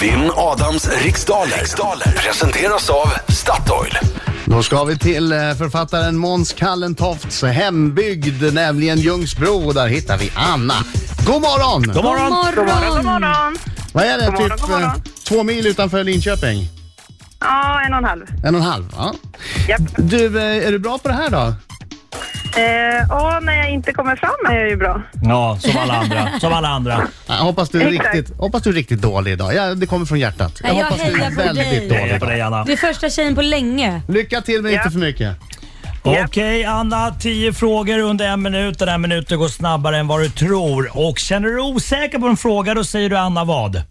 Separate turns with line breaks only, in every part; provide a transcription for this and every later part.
Vinn Adams riksdaler. riksdaler presenteras av Statoil.
Då ska vi till eh, författaren Måns Kallentofts hembygd, nämligen Ljungsbro. Och där hittar vi Anna. God morgon!
God morgon!
God morgon, god morgon.
Vad är det?
God morgon,
typ
god morgon.
eh, två mil utanför Linköping?
Ja, en och en halv.
En och en halv, ja.
Japp.
Du, eh, är du bra på det här då?
Eh, och när jag inte kommer fram är jag ju bra.
Ja, som alla andra. Som alla andra.
Jag hoppas du är
Exakt.
riktigt, hoppas du är riktigt dålig idag. Ja, det kommer från hjärtat.
Nej, jag
hoppas du
hejar
är
på
väldigt
dig.
Jag är
dålig.
på dig, Anna.
Du är första tjejen på länge.
Lycka till men inte
Ja.
för mycket.
Ja.
Okej Anna, 10 frågor under en minut. Den här minuten går snabbare än vad du tror. Och känner du dig osäker på en fråga då säger du Anna vad?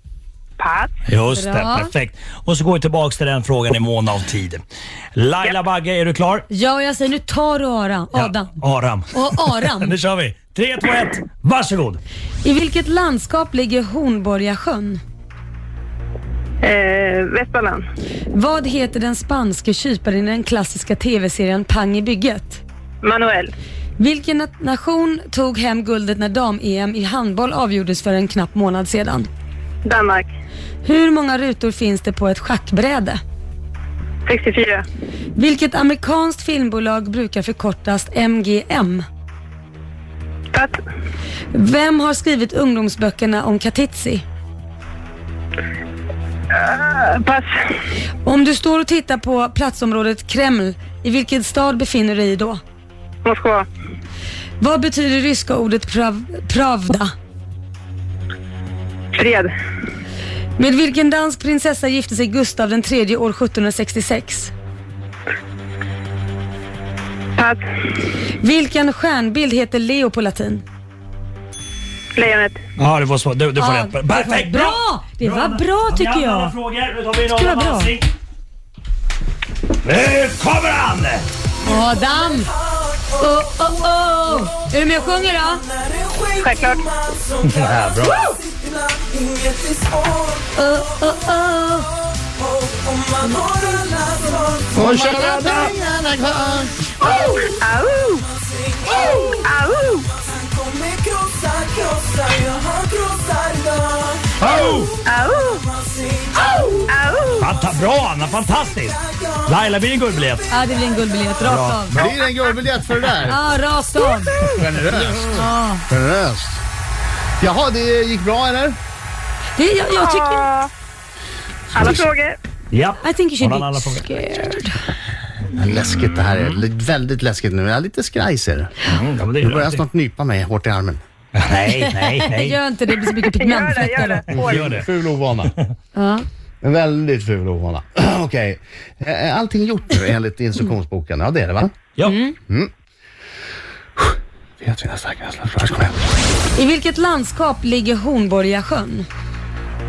Pass.
Just
Bra.
det, perfekt. Och så går vi tillbaka till den frågan i mån av tid. Laila Bagge, är du klar?
Ja, och jag säger nu tar du Aram. Adam.
Ja, Aram.
Och
Nu
Aram.
kör vi. 3, 2, 1. Varsågod.
I vilket landskap ligger Hornborgasjön?
Eh, Västmanland.
Vad heter den spanske kyparen i den klassiska tv-serien Pang i bygget?
Manuel.
Vilken nat- nation tog hem guldet när dam-EM i handboll avgjordes för en knapp månad sedan?
Danmark.
Hur många rutor finns det på ett schackbräde?
64.
Vilket amerikanskt filmbolag brukar förkortas MGM?
Pass.
Vem har skrivit ungdomsböckerna om Katitzi?
Pass.
Om du står och tittar på platsområdet Kreml, i vilken stad befinner du dig då?
Moskva.
Vad betyder ryska ordet prav- pravda?
Fred.
Med vilken dansk prinsessa gifte sig Gustav den tredje år 1766?
Pass.
Vilken stjärnbild heter Leo på latin?
Lejonet.
Ja, du får, svar- du, du får
Ja,
rätt. på- Perfekt!
bra! Det var bra, tycker
Vi har
jag.
alla frågor. Nu tar vi
Det var
någon
bra.
avancing. Nu kommer han!
Adam! Oh, oh, oh. Är du med och sjunger då?
Självklart.
Ja, bra.
Oh, oh, oh.
Och kör Anna kvar.
Au! Au!
Oh!
Au! Au!
Fanta, bra Anna, fantastiskt! Laila, blir det en guldbiljett?
Ja, det blir en guldbiljett. Rakt av.
Blir det en guldbiljett för det där?
Ja, rakt av.
Generöst. Generöst. Jaha, det gick bra eller?
Det, jag, jag tycker...
Ja. Alla frågor.
Ja.
I think you
Har
should
han
be
alla frågor?
scared.
Men Läskigt det här är. L- Väldigt läskigt nu. Jag är lite skraj ser du.
Mm, ja, men Mm. det
Du
gör
börjar
jag.
snart nypa mig hårt i armen.
Nej, nej, nej.
Gör inte det, det blir så mycket
Gör det, gör
pigmentfläckar då.
det. Oj.
Gör det.
Ful ovana.
Ja.
En väldigt ful ovana. Okej. Eh, eh, Allting gjort nu enligt instruktionsboken? Ja, det är det va?
Ja.
Mm.
Vet vi nästa känsla. Lars, kom igen.
I vilket landskap ligger Hornborgasjön?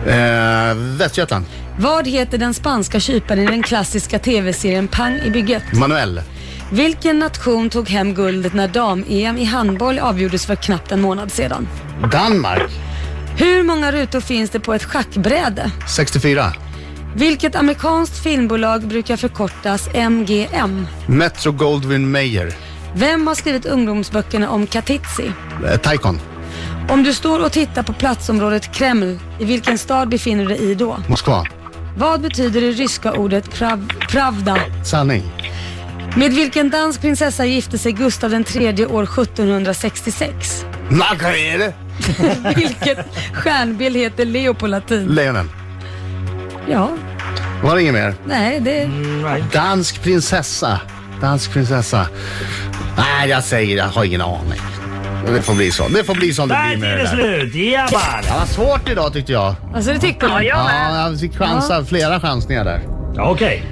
Eh, Västgötland.
Vad heter den spanska kyparen i den klassiska tv-serien Pang i bygget?
Manuel.
Vilken nation tog hem guldet när dam-EM i handboll avgjordes för knappt en månad sedan?
Danmark.
Hur många rutor finns det på ett schackbräde?
64.
Vilket amerikanskt filmbolag brukar förkortas MGM?
Metro Goldwyn Mayer.
Vem har skrivit ungdomsböckerna om Katitzi?
Eh, Taikon.
Om du står och tittar på platsområdet Kreml, i vilken stad befinner du dig i då?
Moskva.
Vad betyder det ryska ordet prav, pravda?
Sanning.
Med vilken dansk prinsessa gifte sig Gustav den tredje år 1766?
Margarete.
Vilket stjärnbild heter Leo på latin?
Lejonen.
Ja,
Var det inget mer?
nej det...
Nej.
Dansk prinsessa. Dansk prinsessa. Nej, jag säger jag har ingen aning. Det får bli så. Det får bli som det
Där
blir
är
med det
tiden
där.
slut! Jabbar!
Det var svårt idag tyckte jag.
Alltså det tyckte
Ja,
du?
jag med.
Ja, jag fick chansa, flera chansningar där.
Okej.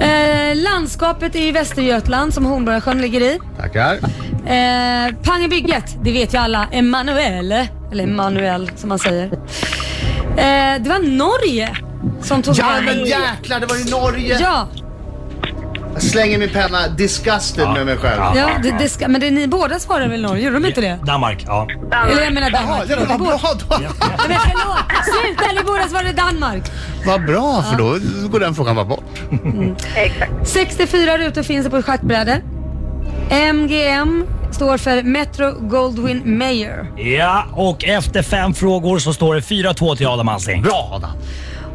Eh, landskapet är ju Västergötland som Hornborgasjön ligger i.
Tackar.
Eh, pang i bygget, det vet ju alla. Emanuel, eller Emanuel som man säger. Eh, det var Norge som tog
Ja,
hem-
men jäklar, det var i Norge.
Ja,
Jag slänger min penna disgusted med mig själv.
Ja.
ja det, det ska, men det, ni båda svarade väl Norge? Gjorde de inte det?
Danmark, ja.
Eller jag menar
Jaha,
Danmark.
ja, vad bra då.
Nej, men förlåt! Sluta! Ni båda svarade Danmark.
Vad bra, för då går den frågan bara bort.
Exakt.
64 rutor finns det på ett schackbräde. MGM står för Metro Goldwyn Mayer.
Ja, och efter fem frågor så står det 4-2 till Adam Alsing.
Bra Adam.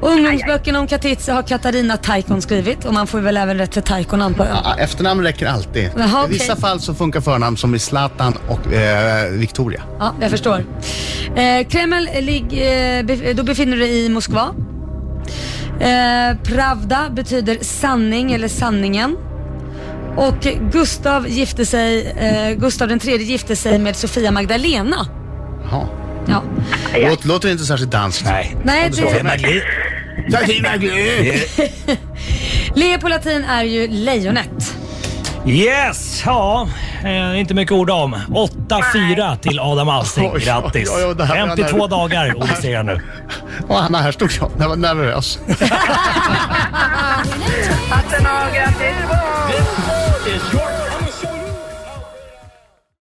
Och ungdomsböckerna om Katowice har Katarina Taikon skrivit och man får väl även rätt till Taikon antar jag.
Ja, efternamn räcker alltid.
Jaha,
I
okej.
vissa fall så funkar förnamn som i Zlatan och eh, Victoria.
Ja, jag förstår. Eh, Kreml, eh, lig, eh, bef- då befinner du dig i Moskva. Eh, Pravda betyder sanning eller sanningen. Och Gustav gifte sig, eh, Gustav den tredje gifte sig med Sofia Magdalena.
Jaha.
Ja.
Låt, låter inte särskilt danskt.
Nej.
Nej, det,
Magli-
Ta till verkligen.
le på latin är ju lejonet.
Yes! Ja, eh, inte mycket ord om. 8-4 till Adam Alsing.
Oj,
Grattis!
oj, oj, det här var
52
nerv-
dagar obesegrad nu.
Och Anna, här stod jag. Jag var nervös.
Hatten av, grattis!
This is your